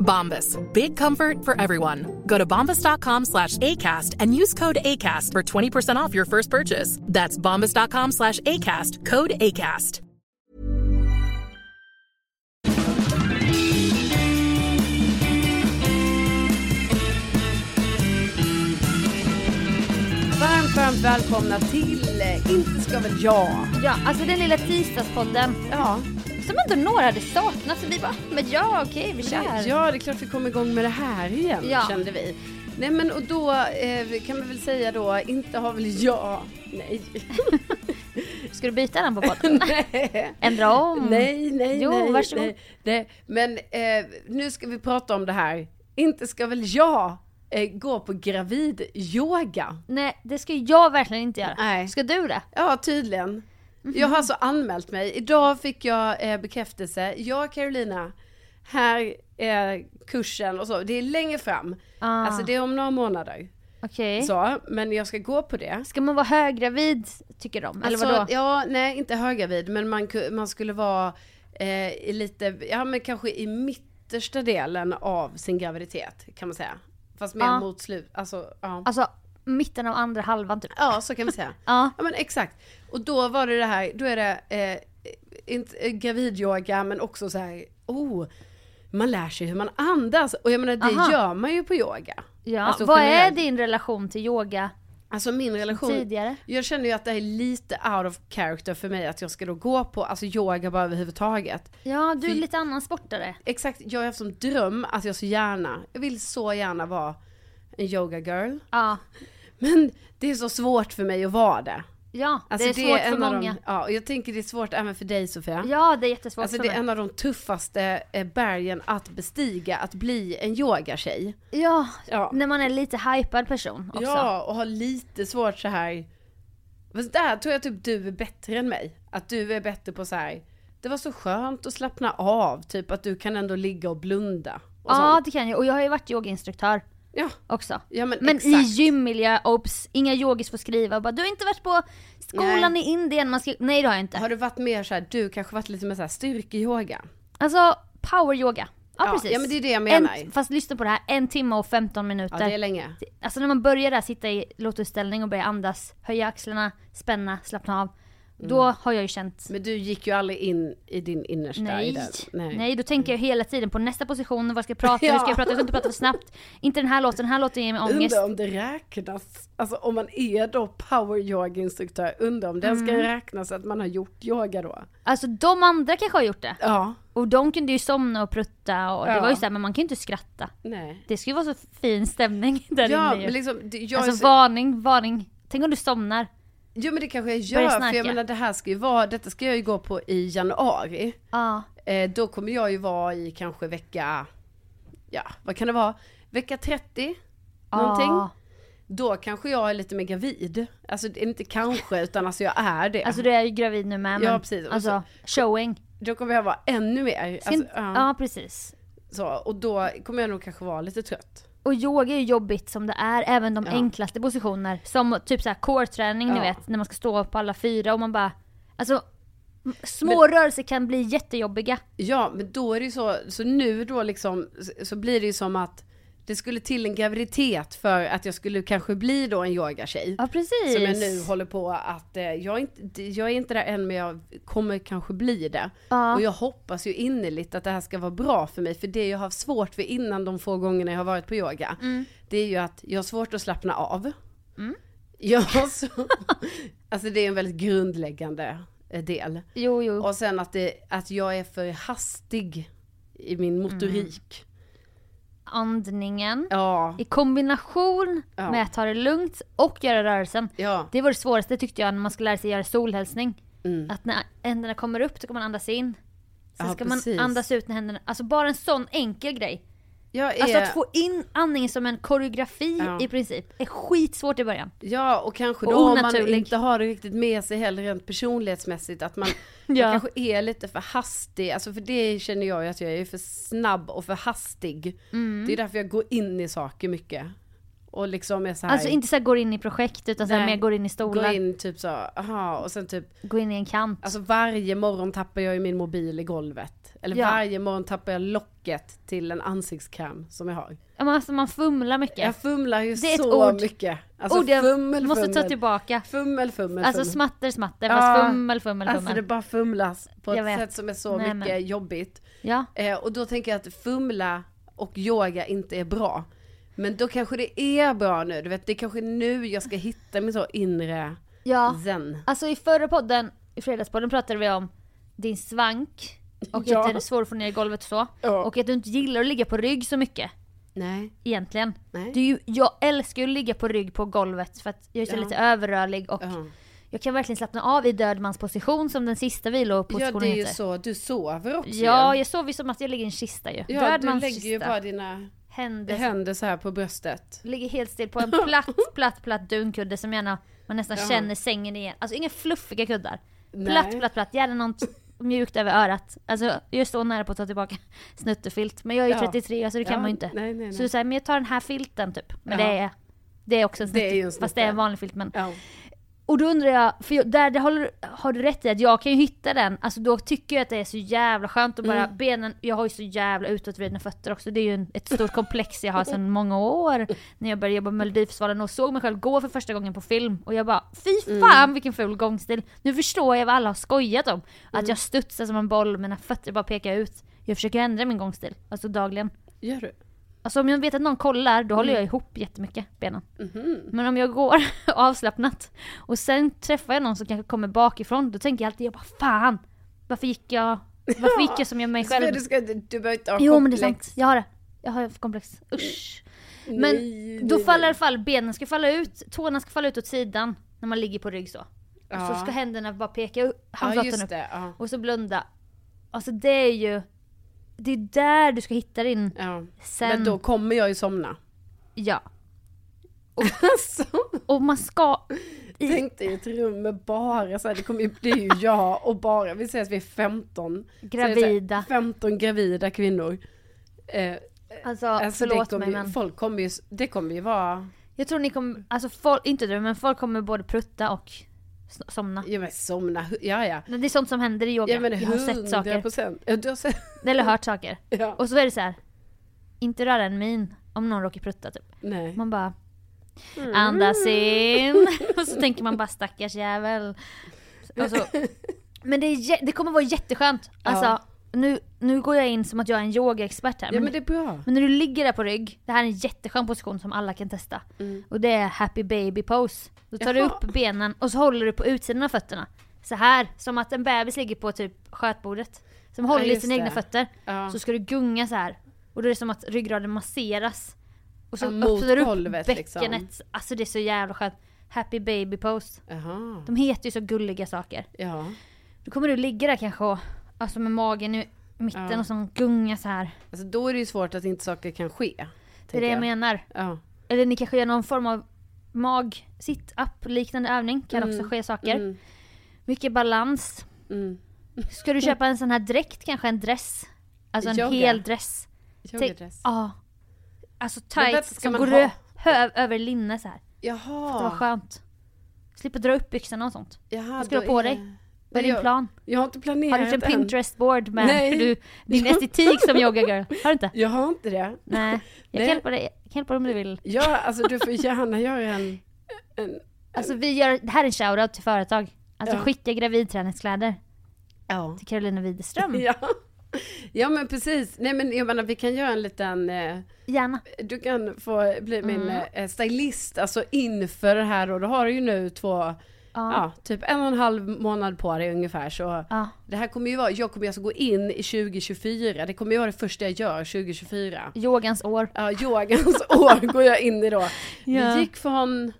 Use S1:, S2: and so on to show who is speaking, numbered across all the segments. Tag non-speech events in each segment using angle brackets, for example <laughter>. S1: Bombas. Big comfort for everyone. Go to bombas.com slash ACAST and use code ACAST for 20% off your first purchase. That's bombas.com slash ACAST. Code ACAST.
S2: Varmt, varmt välkomna till eh, Inte ska väl jag.
S3: Ja, alltså den lilla tisdagspodden
S2: Ja,
S3: som inte några hade saknat. Så vi bara, men ja okej, vi
S2: det,
S3: kör.
S2: ja, det är klart vi kom igång med det här igen
S3: Ja.
S2: kände vi. Nej men och då eh, kan man väl säga då, inte har väl jag, nej,
S3: <laughs> Ska du byta den på podden?
S2: <laughs> nej.
S3: Ändra om?
S2: Nej, nej,
S3: Jo,
S2: nej.
S3: varsågod.
S2: nej, nej. Men eh, nu ska vi prata om det här. Inte ska väl jag eh, gå på gravidyoga?
S3: Nej, det ska jag verkligen inte göra.
S2: Nej.
S3: Ska du det? Mhm.
S2: Ja, tydligen. Jag har alltså anmält mig. Idag fick jag eh, bekräftelse. Jag, Carolina, här är kursen och så. Det är längre fram.
S3: Ah,
S2: Alltså det är om några månader.
S3: Okej.
S2: Så, men jag ska gå på det.
S3: Ska man vara höggravid tycker de? Eller
S2: Alltså,
S3: vadå?
S2: Ja, nej inte höggravid men man, ku- man skulle vara eh, i lite, ja men kanske i mittersta delen av sin graviditet kan man säga. Fast mer
S3: Ja.
S2: mot slut, alltså ja.
S3: Alltså mitten av andra halvan typ.
S2: Ja så kan vi säga.
S3: <laughs> Ja.
S2: Ja men exakt. Och då var det det här, då är det eh, inte, eh, gravidyoga men också så här, oh, man lär sig hur man andas. Och jag menar det
S3: Aha.
S2: gör man ju på yoga.
S3: ja.
S2: Alltså,
S3: Vad är
S2: generellt.
S3: din relation till yoga
S2: Alltså min relation,
S3: tidigare?
S2: jag känner ju att det är lite out of character för mig att jag ska då gå på alltså yoga bara överhuvudtaget.
S3: Ja, du är
S2: Fy-
S3: lite annan sportare.
S2: Exakt, jag har haft som dröm att jag så gärna, jag vill så gärna vara en yoga girl.
S3: Ja,
S2: Men det är så svårt för mig att vara det.
S3: ja
S2: Alltså,
S3: det är svårt
S2: en
S3: för
S2: av
S3: många.
S2: De, ja, och jag tänker det är svårt även för dig Sofia.
S3: Ja, det är jättesvårt
S2: alltså
S3: för
S2: det är
S3: mig.
S2: en av de tuffaste eh, bergen att bestiga, att bli en yogatjej.
S3: Ja,
S2: Ja.
S3: när man är lite hypad person också.
S2: Ja, och ha lite svårt så här. Fast där tror jag typ du är bättre än mig. Att du är bättre på så här. det var så skönt att slappna av, typ att du kan ändå ligga och blunda. Och
S3: Ja
S2: sånt.
S3: det kan jag. Och jag har ju varit yogainstruktör
S2: ja,
S3: också.
S2: ja men,
S3: Men
S2: exakt.
S3: i gymmiljö, obs, inga yogis får skriva. Bara, du har inte varit på skolan i Indien, man ska... Nej det har jag inte.
S2: Har du varit mer så här, du kanske varit lite mer så här styrkeyoga?
S3: Alltså power yoga. Ja,
S2: Ja,
S3: precis.
S2: ja, men det är det jag menar.
S3: En, fast lyssna på det här, en timme och 15
S2: Ja,
S3: minuter.
S2: det är länge.
S3: Alltså när man börjar där, sitta i lotusställning och börja andas, höja axlarna, spänna, slappna av. Då har jag ju känt
S2: Mm. Men du gick ju aldrig in i din innersta i
S3: Nej.
S2: den.
S3: Nej. då tänker jag hela tiden på nästa position, vad ska jag prata, hur
S2: Ja.
S3: ska jag prata, jag ska inte prata för snabbt. Inte den här låten, den här låten ger mig ångest.
S2: Undrar om det räknas, alltså om man är då power yoga instruktör, undrar om den
S3: Mm.
S2: ska räknas att man har gjort yoga då?
S3: Alltså de andra kanske har gjort det.
S2: Ja.
S3: Och de kunde ju somna och prutta och det
S2: Ja.
S3: var ju såhär, men man kan ju inte skratta.
S2: Nej.
S3: Det ska ju vara så fin stämning <laughs> där
S2: Ja,
S3: inne ju.
S2: men liksom, det- jag är
S3: Alltså
S2: så-
S3: varning, varning. Tänk om du somnar.
S4: Jo men det kanske jag
S2: Börja
S4: gör, för
S2: snarka.
S4: jag menar det här ska ju vara, detta ska jag ju gå på i januari.
S2: Ja.
S4: Eh, då kommer jag ju vara i kanske vecka, ja vad kan det vara, vecka 30?
S2: Ja.
S4: Någonting? Då kanske jag är lite mer gravid. Alltså det är inte kanske, utan alltså jag är det.
S2: Alltså du är ju gravid nu med. Men,
S4: Ja, precis. Och
S2: Alltså showing.
S4: då kommer jag vara ännu mer,
S2: Ska
S4: alltså,
S2: inte-
S4: ja,
S2: ja precis.
S4: Så, och då kommer jag nog kanske vara lite trött.
S2: Och yoga är ju jobbigt som det är, även de
S4: Ja.
S2: enklaste positioner. Som typ såhär core-träning ni
S4: Ja.
S2: vet, när man ska stå på alla fyra och man bara... Alltså, m- små rörelser kan bli jättejobbiga.
S4: Ja, men då är det ju så, så nu då liksom, så- så blir det ju som att det skulle till en graviditet för att jag skulle kanske bli då en yogatjej.
S2: Ja precis.
S4: Som jag nu håller på att, eh, jag är, inte, jag är inte där än men jag kommer kanske bli det.
S2: Ja.
S4: Och jag hoppas ju innerligt att det här ska vara bra för mig. För det jag har haft svårt för innan de få gångerna jag har varit på yoga.
S2: Mm.
S4: Det är ju att jag har svårt att slappna av. <laughs> Jag har så, alltså det är en väldigt grundläggande eh, del.
S2: Jo jo.
S4: Och sen att, det, att jag är för hastig i min motorik.
S2: Mm. Andningen.
S4: Ja.
S2: I kombination
S4: Ja.
S2: med att ta det lugnt och göra rörelsen.
S4: Ja.
S2: Det var det svåraste tyckte jag när man ska lära sig göra solhälsning. Att när händerna kommer upp så kan man andas in. Sen
S4: Mm. Ja,
S2: ska
S4: precis.
S2: man andas ut när händerna... Alltså bara en sån enkel grej.
S4: Jag är,
S2: Alltså att få in andningen som en koreografi
S4: Ja.
S2: i princip är skitsvårt i början.
S4: Ja, och kanske
S2: Och
S4: då om man
S2: onaturlig.
S4: inte har det riktigt med sig heller rent personlighetsmässigt. Att man, man
S2: <laughs> Ja.
S4: kanske är lite för hastig. Alltså för det känner jag ju att jag är för snabb och för hastig.
S2: Mm.
S4: Det är därför jag går in i saker mycket. Och liksom är så här,
S2: Alltså inte så här går in i projekt utan så här
S4: Nej.
S2: mer går in i stolar,
S4: Går in typ så, aha, och sen typ
S2: i en kant.
S4: Alltså varje morgon tappar jag ju min mobil i golvet. Eller
S2: Ja.
S4: varje morgon tappar jag locket till en ansiktskräm som jag har.
S2: Ja, men alltså man fumlar mycket.
S4: Jag fumlar ju
S2: Det är ett
S4: så
S2: ord.
S4: mycket. Alltså
S2: Ord jag
S4: fummel,
S2: måste ta
S4: fummel.
S2: tillbaka.
S4: Fummel, fummel,
S2: Alltså
S4: fummel.
S2: smatter, smatter,
S4: Ja.
S2: fast fummel, fummel, fummel.
S4: Alltså det bara fumlas på
S2: Jag
S4: ett
S2: vet.
S4: sätt som är så
S2: Nej,
S4: mycket
S2: men-
S4: jobbigt.
S2: Ja.
S4: Eh, och då tänker jag att fumla och yoga inte är bra. Men då kanske det är bra nu, du vet det är kanske nu jag ska hitta min så inre
S2: ja.
S4: zen.
S2: Alltså i förra podden, i fredagspodden pratade vi om din svank och
S4: <laughs> Ja.
S2: att det är svårt att få ner i golvet och så.
S4: Ja.
S2: Och att du inte gillar att ligga på rygg så mycket
S4: Nej.
S2: egentligen.
S4: Nej.
S2: Det är ju, jag älskar ju att ligga på rygg på golvet för att jag är så
S4: Ja.
S2: lite överrörlig och
S4: Ja.
S2: jag kan verkligen slappna av i dödmansposition som den sista
S4: Ja
S2: vilopositionen
S4: det är ju
S2: heter.
S4: så, du sover också
S2: Ja,
S4: ju.
S2: jag sover ju som att jag ligger i en kista ju.
S4: ja du lägger ju bara dina
S2: Händer.
S4: händer så här på bröstet.
S2: Ligger helt
S4: <laughs>
S2: still på en platt, platt, platt dunkudde som gärna man nästan känner sängen igen. Alltså inga fluffiga kuddar.
S4: Nej.
S2: Platt, platt, platt. Gärna något mjukt över örat. Alltså jag är så nära på att ta tillbaka <laughs> snuttefilt. Men jag är ju
S4: Ja.
S2: 33 så det kan
S4: Ja,
S2: man ju inte.
S4: nej, nej,
S2: Så
S4: nej.
S2: du säger, men jag tar den här filten typ. Men
S4: Ja.
S2: det är det är också en
S4: Det är
S2: snutte,
S4: ju en
S2: fast det är en
S4: snutte.
S2: vanlig filt. Men.
S4: Ja.
S2: Och då undrar jag, för jag, där det håller, har du rätt i att jag kan ju hitta den, alltså då tycker jag att det är så jävla skönt att bara benen, jag har ju så jävla utåtvridna fötter också, det är ju en, ett stort komplex jag har sedan många år. När jag började jobba med Melodifestivalen och såg mig själv gå för första gången på film och jag bara fy fan vilken ful gångstil. Nu förstår jag vad alla har skojat om. Att jag studsar som en boll, mina fötter bara pekar ut. Jag försöker ändra min gångstil, alltså dagligen.
S4: Gör du? Mm.
S2: Alltså om jag vet att någon kollar, då håller jag ihop jättemycket benen.
S4: Mhm.
S2: Men om jag går <laughs> avslappnat och sen träffar jag någon som kanske kommer bakifrån, då tänker jag alltid jag bara fan! Varför gick jag, varför gick jag
S4: <laughs>
S2: som jag mig själv?
S4: Alltså, Du, ska, du behöver inte ha
S2: Jo men det är
S4: komplex.
S2: sant, jag har det. Jag har ett komplex. Usch. Men då faller i alla fall benen ska falla ut, tårna ska falla ut åt sidan när man ligger på rygg så. Och så ska händerna bara peka upp,
S4: Ja
S2: handflatan
S4: just
S2: upp.
S4: det. Ja.
S2: Och så blunda. Alltså det är ju, det är där du ska hitta din
S4: Ja.
S2: sen.
S4: Men då kommer jag ju somna.
S2: Ja.
S4: <laughs> Alltså,
S2: Och man ska... I,
S4: tänk dig ett rum med bara så här, det, kommer ju, det är ju jag och bara, vi säger att vi är 15. Så är det så här,
S2: Gravida.
S4: 15 gravida kvinnor. Eh,
S2: alltså,
S4: alltså det
S2: förlåt
S4: kommer
S2: mig
S4: ju,
S2: men.
S4: folk kommer ju, det kommer ju vara,
S2: Jag tror ni kommer, alltså folk, inte du men folk kommer både prutta och s- somna.
S4: ja men somna, hu- ja ja.
S2: Men det är sånt som händer i yoga.
S4: Ja men
S2: jag har sett
S4: 100
S2: saker.
S4: procent. Du har sett,
S2: Eller hört saker.
S4: <laughs> ja.
S2: Och så är det så här. Inte röra en min om någon råkar prutta typ.
S4: Nej.
S2: Man bara andas
S4: Mm.
S2: in <laughs> och så tänker man bara stackars jävel. Och så, men det, är, jä- det kommer vara jätteskönt. Alltså,
S4: Ja.
S2: nu, nu går jag in som att jag är en yogaexpert här.
S4: Ja men det är bra.
S2: Men när du ligger där på rygg, det här är en jätteskön position som alla kan testa. Och det är happy baby pose. Då tar du
S4: Mm. Jaha.
S2: upp benen och så håller du på utsidan av fötterna. Så här, som att en bebis ligger på typ skötbordet. Som håller i
S4: just
S2: sina
S4: det.
S2: egna fötter.
S4: Ja.
S2: Så ska du gunga så här. Och då är det som att ryggraden masseras. Och så
S4: Ja, mot
S2: öppnar du upp
S4: golvet,
S2: bäckenet.
S4: liksom.
S2: Alltså det är så jävla skönt. happy baby pose.
S4: Jaha.
S2: De heter ju så gulliga saker.
S4: Ja.
S2: Då kommer du ligga där kanske och, alltså med magen i mitten
S4: Ja.
S2: och så gunga så här.
S4: Alltså då är det ju svårt att inte saker kan ske.
S2: Det är
S4: tänker
S2: det jag
S4: jag.
S2: menar.
S4: Ja.
S2: Eller ni kanske gör någon form av mag sit up liknande övning. Kan också ske saker.
S4: Mm.
S2: Mycket balans.
S4: Mm.
S2: Ska du köpa en sån här dräkt kanske? En dress? Alltså en
S4: Yoga.
S2: hel dress.
S4: Yogadress.
S2: Ja. Alltså
S4: Men vänta,
S2: tights
S4: ska
S2: som
S4: man
S2: går
S4: ha-
S2: ö- hö- över linne så här. Det var
S4: Jaha.
S2: skönt. Slippa dra upp byxorna och sånt.
S4: Jaha,
S2: Vad ska du
S4: då
S2: ha på
S4: är det-
S2: dig? Vad är din
S4: jag-
S2: plan?
S4: Jag har inte
S2: Har
S4: planerat
S2: du gjort en
S4: än.
S2: Pinterest-board med
S4: Nej.
S2: hur du, din estetik som yoga girl? Har du inte?
S4: Jag har inte det.
S2: Nej. Jag kan
S4: Nej.
S2: hjälpa dig, jag kan hjälpa dig om du vill.
S4: Ja, alltså du får gärna göra en... en
S2: Alltså vi gör, det här är en shoutout till företag. Alltså
S4: Ja.
S2: skicka gravidträningskläder
S4: ja.
S2: till Carolina Widerström.
S4: ja. Ja men precis. Nej men jag menar vi kan göra en liten... Eh,
S2: Gärna.
S4: du kan få bli min eh, stylist, alltså inför det här och då har du ju nu två, ja. typ en och en halv månad på dig ungefär så.
S2: Ja.
S4: Det här kommer ju vara, jag kommer ju alltså gå in i 2024, det kommer ju vara det första jag gör 2024.
S2: Yogans år.
S4: Ja, yogans <laughs> år går jag in i då.
S2: Ja.
S4: Vi gick från,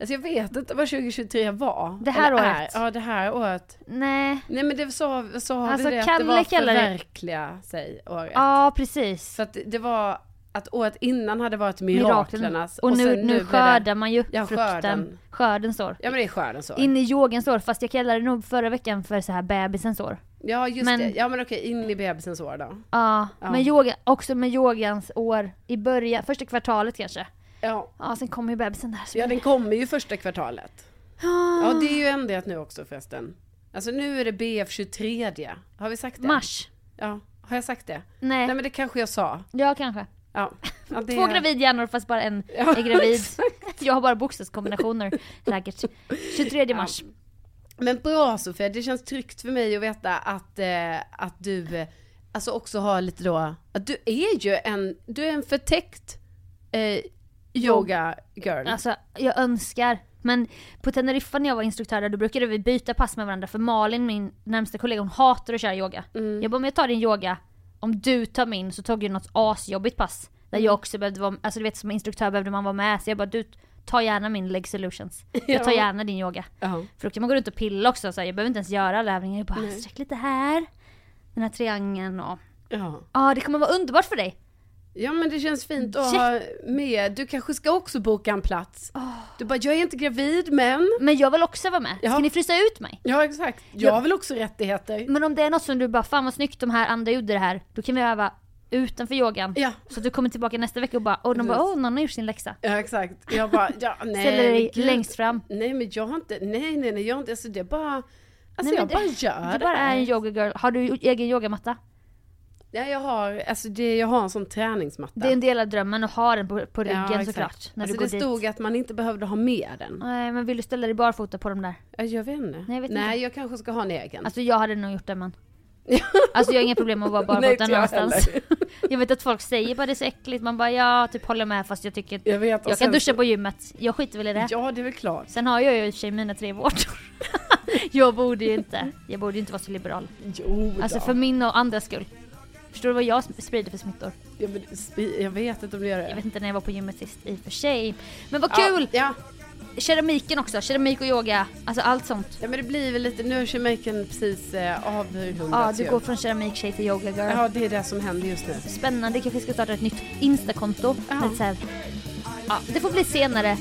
S4: alltså jag vet inte vad 2023 var.
S2: Det här
S4: Eller
S2: året.
S4: Är. Ja, det här året.
S2: Nej.
S4: Nej men det sa, sa
S2: Alltså,
S4: vi det,
S2: Kalle
S4: att det var
S2: kallar det-
S4: förverkliga sig året.
S2: Ja, precis.
S4: För att det- det var, att året innan hade varit
S2: Miraklen.
S4: miraklernas.
S2: Och nu,
S4: sen
S2: nu,
S4: blev det-
S2: skördar man ju
S4: Ja,
S2: frukten.
S4: skörden.
S2: Skördens år.
S4: Ja men det är skördens år.
S2: In i yogans år, fast jag kallade det nog förra veckan för så här bebisens år.
S4: Ja just
S2: men-
S4: det, ja men okej, in i bebisens år då.
S2: Ja,
S4: Ja.
S2: men yoga, också med yogans år i början, första kvartalet kanske.
S4: Ja.
S2: Ja, sen kommer ju bebisen där. så
S4: Ja
S2: blir
S4: den kommer ju första kvartalet. Ja det är ju ändrat nu också förresten. Alltså nu är det BF23. Har vi sagt
S2: det
S4: det?
S2: Mars.
S4: Ja, har jag sagt det?
S2: Nej,
S4: Nej men det kanske jag sa.
S2: ja kanske.
S4: Ja.
S2: <laughs>
S4: Ja, det-
S2: Två gravidhjärnor fast bara en
S4: Ja,
S2: är gravid. jag har bara bokstavskombinationer säkert. 23 mars.
S4: Men bra Sofia, det känns tryggt för mig att veta att, eh, att du eh, alltså också har lite då, att du är ju en, du är en förtäckt eh, yoga girl.
S2: Alltså jag önskar. Men på Teneriffa när jag var instruktör där, då brukade vi byta pass med varandra för Malin, min närmsta kollega, hon hatar att köra yoga.
S4: Mm.
S2: Jag bara, om jag tar din yoga, om du tar min så tog jag något asjobbigt pass. Där
S4: Mm.
S2: jag också behövde vara, alltså du vet som instruktör behövde man vara med. Så jag bara, du tar gärna min
S4: <laughs>
S2: leg solutions. Jag tar
S4: Ja.
S2: gärna din yoga.
S4: Ja.
S2: För då kan man gå runt och pilla också, så här, jag behöver inte ens göra alla övningar. Jag bara, sträck lite här, den här triangeln och...
S4: Ja.
S2: Ja det kommer vara underbart för dig!
S4: ja men det känns fint att ha med, du kanske ska också boka en plats.
S2: Ah.
S4: Du bara, jag är inte gravid men,
S2: Men jag vill också vara med, ska
S4: Ja.
S2: ni frysa ut mig?
S4: ja exakt, jag har väl också rättigheter.
S2: Men om det är något som du bara, fan vad snyggt de här andra gjorde det här, då kan vi öva utanför yogan.
S4: Ja.
S2: Så att du kommer tillbaka nästa vecka och bara, och de bara, åh någon har gjort sin läxa.
S4: Ja exakt, jag bara,
S2: <laughs>
S4: ja nej.
S2: Ställer dig
S4: gud.
S2: längst fram.
S4: Nej men jag har inte, nej nej nej jag har inte, alltså det är bara, alltså
S2: men
S4: jag
S2: du-
S4: bara gör
S2: Du
S4: det
S2: bara
S4: här.
S2: är en yoga girl. Har du egen yogamatta?
S4: Ja, jag har, alltså det, jag har en sån träningsmatta.
S2: Det är en del av drömmen att ha den på, på
S4: Ja,
S2: ryggen
S4: exakt.
S2: såklart. När
S4: alltså
S2: du går
S4: det
S2: dit.
S4: stod att man inte behövde ha med den.
S2: Nej men vill du ställa dig barfota på dem där?
S4: Ja, Jag vet inte.
S2: Nej, jag vet
S4: Nej, jag kanske ska ha en egen.
S2: Alltså jag hade nog gjort
S4: <laughs>
S2: det men. Alltså jag har inga problem med att vara barfota
S4: inte jag
S2: någonstans.
S4: heller. <laughs>
S2: Jag vet att folk säger bara det är så äckligt, man bara ja typ håller med fast jag tycker att
S4: Jag vet, och
S2: jag kan
S4: sen
S2: duscha
S4: så-
S2: på gymmet. Jag skiter väl i det.
S4: Ja, det är väl klart.
S2: Sen har jag ju i och för sig mina tre vårtor. <laughs> jag borde ju inte, jag borde ju inte vara så liberal.
S4: Jo då.
S2: Alltså för min och andras skull. Förstår du vad jag sp- sprider för smittor?
S4: ja, men, spi- jag vet inte om det gör det.
S2: Jag vet inte när jag var på gymmet sist i och för sig. Men vad
S4: Ja,
S2: kul!
S4: Ja,
S2: Keramiken också, keramik och yoga, alltså allt sånt.
S4: ja, men det blir väl lite, nu har keramiken precis eh, avrundats
S2: Ja, du
S4: ju.
S2: går från keramiktjej till yoga girl.
S4: Ja, det är det som händer just nu.
S2: Spännande, kanske ska starta ett nytt instakonto.
S4: Ja.
S2: Men så här, ja, det får bli senare.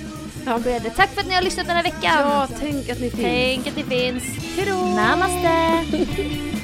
S4: Ja.
S2: Skede. Tack för att ni har lyssnat den här veckan.
S4: Ja, tänk att ni finns.
S2: Tänk att det finns. Namaste!